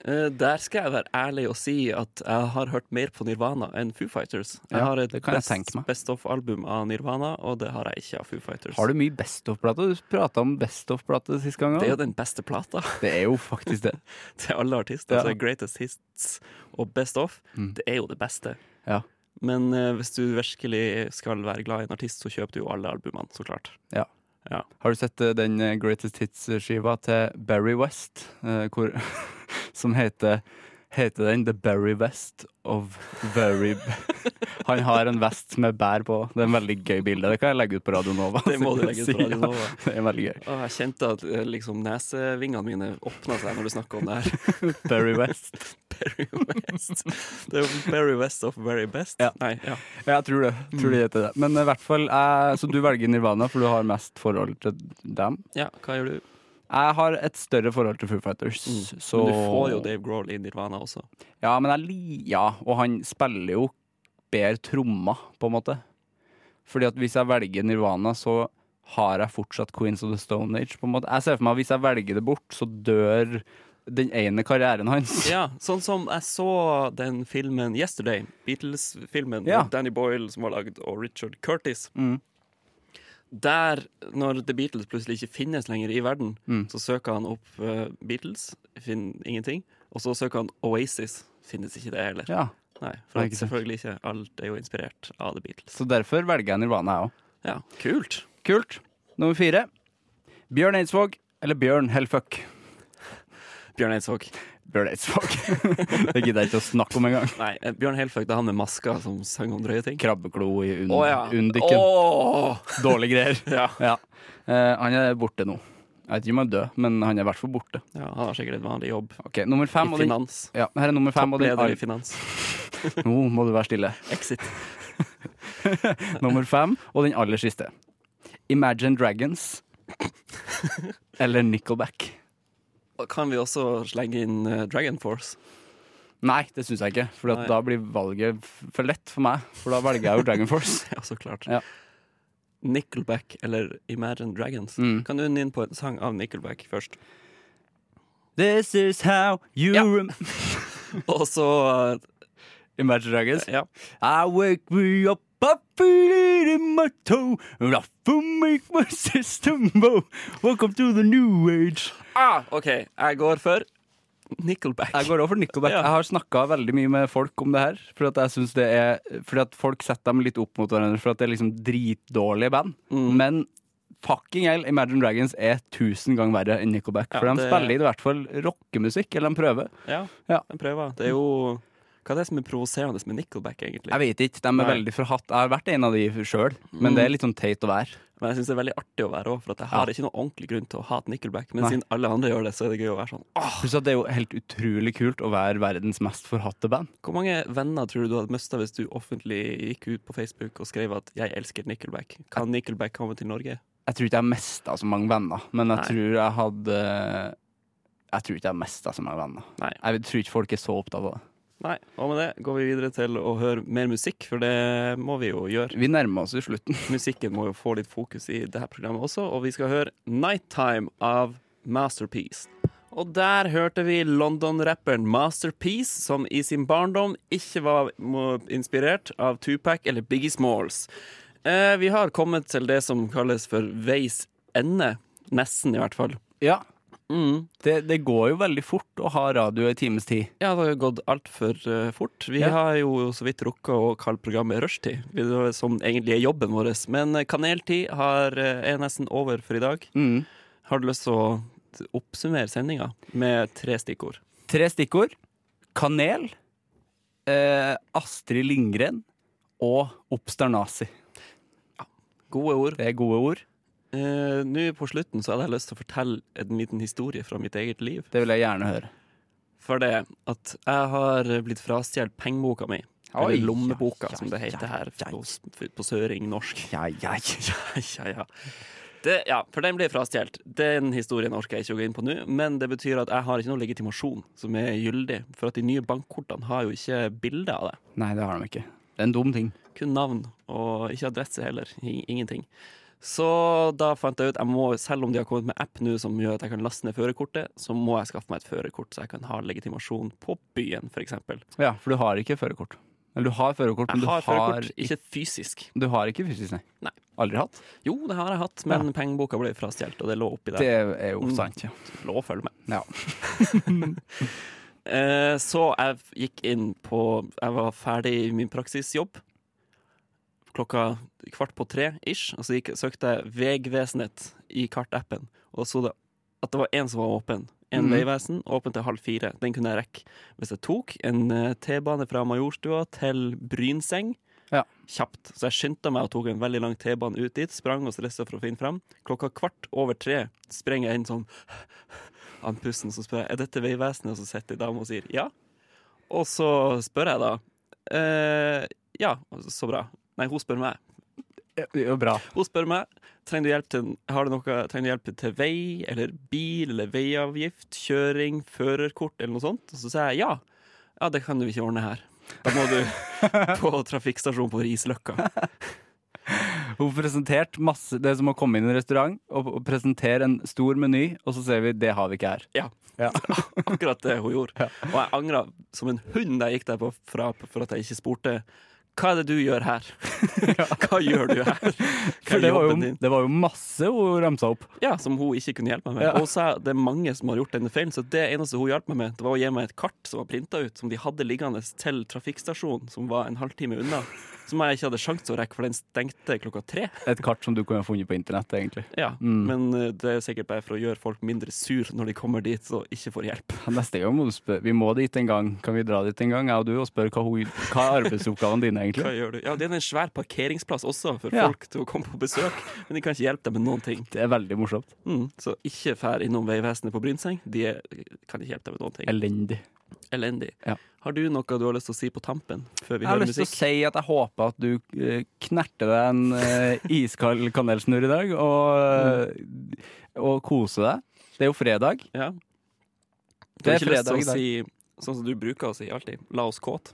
B: Eh, der skal jeg være ærlig og si at jeg har hørt mer på Nirvana enn Foo Fighters. Jeg
D: Ja,
B: har et
D: det kan jeg
B: best,
D: tenke meg.
B: best of-album av Nirvana, og det har jeg ikke av Foo Fighters.
D: Har du mye Best of-plate? Du prata om Best of-plate sist gang
B: Det er jo
D: òg.
B: den beste plata
D: Det er jo faktisk det.
B: til alle artister.
D: Ja. Mm.
B: Altså Greatest Hits og Best Of. Det er jo det beste.
D: Ja.
B: Men eh, hvis du virkelig skal være glad i en artist, så kjøper du jo alle albumene, så klart.
D: Ja.
B: Ja.
D: Har du sett eh, den eh, Greatest Hits-skiva til Barry West? eh, Hvor, som heter Heter den The Barry West of Very Han har en vest med bær på. Det er en veldig gøy bilde. Det kan jeg legge ut på Radio Nova.
B: Det må du legge ut på Radio Nova.
D: Ja, Det er veldig gøy.
B: Og jeg kjente at eh, liksom nesevingene mine åpna seg når du snakka om det her.
D: Barry West.
B: Barry West. Det er jo Barry West of Very Best.
D: Ja.
B: Nei, ja.
D: Ja, jeg tror det. Tror
B: Mm.
D: de heter det. Men i hvert fall, eh, så du velger Nirvana, for du har mest forhold til dem.
B: ja, hva gjør du?
D: Jeg har et større forhold til Foo Fighters, så
B: Mm. Men du får jo Dave Grohl i Nirvana også.
D: Ja, men jeg li... Ja, og han spiller jo bedre trommer, på en måte. Fordi at hvis jeg velger Nirvana, så har jeg fortsatt Queens of the Stone Age, på en måte. Jeg ser for meg at hvis jeg velger det bort, så dør den ene karrieren hans.
B: Ja, sånn som jeg så den filmen Yesterday, Beatles-filmen
D: Ja.
B: med Danny Boyle som var lagd, og Richard Curtis.
D: Mm.
B: Der, når The Beatles plutselig ikke finnes lenger i verden, så søker han opp eh, Beatles, finner ingenting. Og så søker han Oasis, finnes ikke det heller.
D: Ja,
B: Nei, for
D: Nei,
B: at
D: ikke sant.
B: selvfølgelig ikke. Alt er jo inspirert av The Beatles.
D: så derfor velger jeg Nirvana, jeg òg.
B: Ja, kult!
D: Kult. Nummer fire. Bjørn Eidsvåg eller Bjørn Hellfuck?
B: Bjørn Eidsvåg.
D: Bjørn Eidsvåg. det gidder jeg ikke å snakke om engang.
B: Nei, eh, Bjørn Helføg, det er han med maska som sang om drøye ting.
D: Krabbeklo i und
B: Å ja.
D: undikken.
B: Å!
D: Dårlige greier.
B: Ja.
D: Ja. Eh, han er borte nå. Jeg vet ikke om han er død, men han er i hvert fall borte.
B: ja, han har sikkert et vanlig jobb.
D: Ok, nummer fem.
B: I
D: og den-
B: finans.
D: ja, her er nummer fem. Og den
B: Toppleder i
D: arv.
B: finans.
D: Nå må du være stille.
B: Exit.
D: Nummer fem, og den aller siste. Imagine Dragons eller Nickelback.
B: Og Kan vi også slenge inn eh, Dragon Force?
D: Nei, det syns jeg ikke, for
B: Nei.
D: at da blir valget f- for lett for meg. For da velger jeg jo Dragon Force.
B: Ja, så klart.
D: Ja.
B: Nickelback eller Imagine Dragons.
D: Mm.
B: Kan du nynne inn på en sang av Nickelback først?
D: This is how you
B: Ja.
D: rem-
B: Og så
D: Imagine Dragons.
B: eh, Ja.
D: I wake me up Puppet in my toe, rough to make my system bow. Welcome to the new age.
B: Ah, OK, jeg går for Nickelback.
D: Jeg går over for Nickelback.
B: Ja.
D: Jeg har snakka veldig mye med folk om det her. Fordi at, jeg synes det er, fordi at folk setter dem litt opp mot hverandre, for at det er liksom dritdårlige band. Men fucking hell, Imagine Dragons er tusen ganger verre enn Nickelback.
B: Ja,
D: for de
B: det-
D: spiller i hvert fall rockemusikk, eller de prøver.
B: Ja,
D: Ja.
B: den prøver. Det er jo Hva er det som er provoserende med Nickelback, egentlig?
D: Jeg vet ikke, de er
B: Nei.
D: veldig forhatt. Jeg har vært en av de sjøl, men det er litt sånn teit å være.
B: Men jeg syns det er veldig artig å være òg, for at jeg har ikke noen ordentlig grunn til å hate Nickelback. Men
D: Nei.
B: siden alle andre gjør det, så er det gøy å være sånn. «Åh,
D: Pluss at det er jo helt utrolig kult å være verdens mest forhatte band.
B: Hvor mange venner tror du du hadde mista hvis du offentlig gikk ut på Facebook og skrev at 'jeg elsker Nickelback'? Kan Nickelback komme til Norge?
D: Jeg tror ikke jeg mista så mange venner, men jeg
B: Nei.
D: tror jeg hadde Jeg tror ikke jeg mista så mange venner.
B: Nei.
D: Jeg tror ikke folk er så opptatt av det.
B: Nei. Og med det går vi videre til å høre mer musikk, for det må vi jo gjøre.
D: Vi nærmer oss jo slutten.
B: Musikken må jo få litt fokus i det her programmet også, og vi skal høre 'Nighttime' av Masterpiece. Og der hørte vi London-rapperen Masterpiece, som i sin barndom ikke var mo- inspirert av Tupac eller Biggie Smalls. Eh, vi har kommet til det som kalles for veis ende. Nesten, i hvert fall.
D: Ja.
B: Mm.
D: Det, det går jo veldig fort å ha radio i times tid.
B: Ja, det har jo gått altfor uh, fort. Vi
D: Ja.
B: har jo så vidt rukka å kalle programmet rushtid, vi- det er som egentlig er jobben vår. Men eh, kaneltid har, eh, er nesten over for i dag.
D: Mm.
B: Har du lyst til å oppsummere sendinga med tre stikkord?
D: Tre stikkord. Kanel, eh, Astrid Lindgren og Oppstar Nazi.
B: Gode ord.
D: Det er gode ord.
B: Eh, Nå på slutten så hadde jeg lyst til å fortelle en liten historie fra mitt eget liv.
D: Det vil jeg gjerne høre.
B: For det at jeg har blitt frastjålet pengeboka mi.
D: Oi,
B: Eller lommeboka,
D: ja,
B: som det
D: ja,
B: heter her
D: ja.
B: hos- på søring norsk.
D: Ja, ja, ja.
B: ja, ja. Det, ja, for den blir frastjålet. Den historien orker jeg ikke å gå inn på nå. Men det betyr at jeg har ikke noen legitimasjon som er gyldig. For at de nye bankkortene har jo ikke bilde av det.
D: Nei, det har de ikke. Det er en dum ting.
B: Kun navn, og ikke adresse heller. I- Ingenting. Så da fant jeg ut jeg må, selv om de har kommet med app nå som gjør at jeg kan laste ned førerkortet, så må jeg skaffe meg et førerkort så jeg kan ha legitimasjon på byen, f.eks. Jeg
D: Ja, for du har ikke førerkort. Eller du har førerkort, men du har,
B: har førerkort, ikke fysisk.
D: du har ikke fysisk, nei.
B: Nei.
D: Aldri hatt.
B: Jo, det har jeg hatt, men pengeboka ble frastjålet, og det lå oppi
D: Det
B: der.
D: er jo sant, ja.
B: Lå og følg med.
D: ja.
B: Eh, Så jeg f- gikk inn på Jeg var ferdig i min praksisjobb klokka kvart på tre ish, og så gikk, søkte jeg Vegvesenet i kartappen, og så det at det var én som var åpen. En
D: Mhm.
B: veivesen, åpen til halv fire. Den kunne jeg rekke. Hvis jeg tok en eh, T-bane fra Majorstua til Brynseng,
D: Ja.
B: kjapt. Så jeg skyndte meg og tok en veldig lang T-bane ut dit, sprang og stressa for å finne fram. Klokka kvart over tre sprenger jeg inn sånn an pusten, så spør jeg er dette Vegvesenet, og så sitter ei dame og sier ja. Og så spør jeg da eh, ja, så bra. Nei, hun spør meg.
D: Det er jo bra.
B: Hun spør meg trenger du hjelp til, har du noe, trenger du hjelp til vei eller bil eller veiavgift, kjøring, førerkort eller noe sånt. Og så sier jeg ja. Ja, det kan du ikke ordne her. Da må du på trafikkstasjonen på Risløkka.
D: Hun presenterte masse Det er som å komme inn i en restaurant og og presentere en stor meny, og så ser vi det har vi ikke her.
B: Ja.
D: Ja.
B: Akkurat det hun gjorde. Og jeg angra som en hund da jeg gikk derfra for at jeg ikke spurte hva er det du gjør her? Hva gjør du her? Hva
D: For
B: er
D: det var,
B: jobben
D: jo,
B: din?
D: det var jo masse hun ramsa opp.
B: Ja, Som hun ikke kunne hjelpe meg med.
D: Ja.
B: Og hun sa det er mange som har gjort denne feilen, så det eneste hun hjalp meg med, det var å gi meg et kart som var printa ut, som de hadde liggende til trafikkstasjonen, som var en halvtime unna. Som jeg ikke hadde sjanse til å rekke, for den stengte klokka tre.
D: Et kart som du kunne ha funnet på internett, egentlig.
B: Ja,
D: Mm.
B: Men eh, det er sikkert bare for å gjøre folk mindre sur når de kommer dit og ikke får hjelp.
D: Neste gang må du spørre Vi må dit en gang. Kan vi dra dit en gang, jeg og du, og spørre hva, hun- hva er arbeidsoppgavene dine,
B: Hva
D: egentlig?
B: gjør du? Ja, Det er en svær parkeringsplass også for
D: Ja.
B: folk til å komme på besøk, men de kan ikke hjelpe deg med noen ting.
D: Det er veldig morsomt.
B: Mm, så ikke fær innom Vegvesenet på Brynseng. De er, kan ikke hjelpe deg med noen ting.
D: Elendig.
B: Elendig.
D: Ja.
B: Har du noe du har lyst til å si på tampen før vi
D: Jeg har
B: hører
D: lyst til å
B: musikk?
D: si at jeg håper at du eh, knerter deg en eh, iskald kanelsnurr i dag, og, eh, og koser deg. Det er jo fredag.
B: Ja. Du
D: Det
B: har
D: er
B: ikke lyst til
D: fredag i
B: å
D: dag.
B: si sånn som du bruker å si alltid? La oss kåt.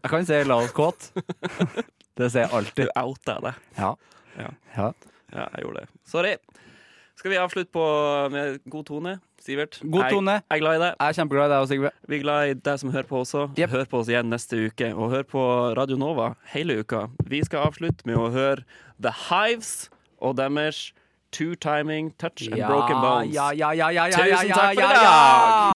D: Jeg kan si 'la oss kåt'. Det sier jeg
B: Du
D: alltid.
B: outa deg.
D: Ja.
B: Ja.
D: Ja.
B: Ja, jeg gjorde det. Sorry. Skal vi avslutte på med god tone, Sivert?
D: God tone.
B: Jeg, jeg er glad i deg.
D: Jeg er kjempeglad i deg og Sigve.
B: Vi er glad i deg som hører på også.
D: Jep.
B: Hør på oss igjen neste uke, og hør på Radio Nova hele uka. Vi skal avslutte med å høre The Hives og deres Two Timing Touch and Broken Bones.
D: Ja, ja, ja, ja, ja, ja,
B: Tusen
D: ja,
B: takk for
D: ja,
B: i
D: ja.
B: dag.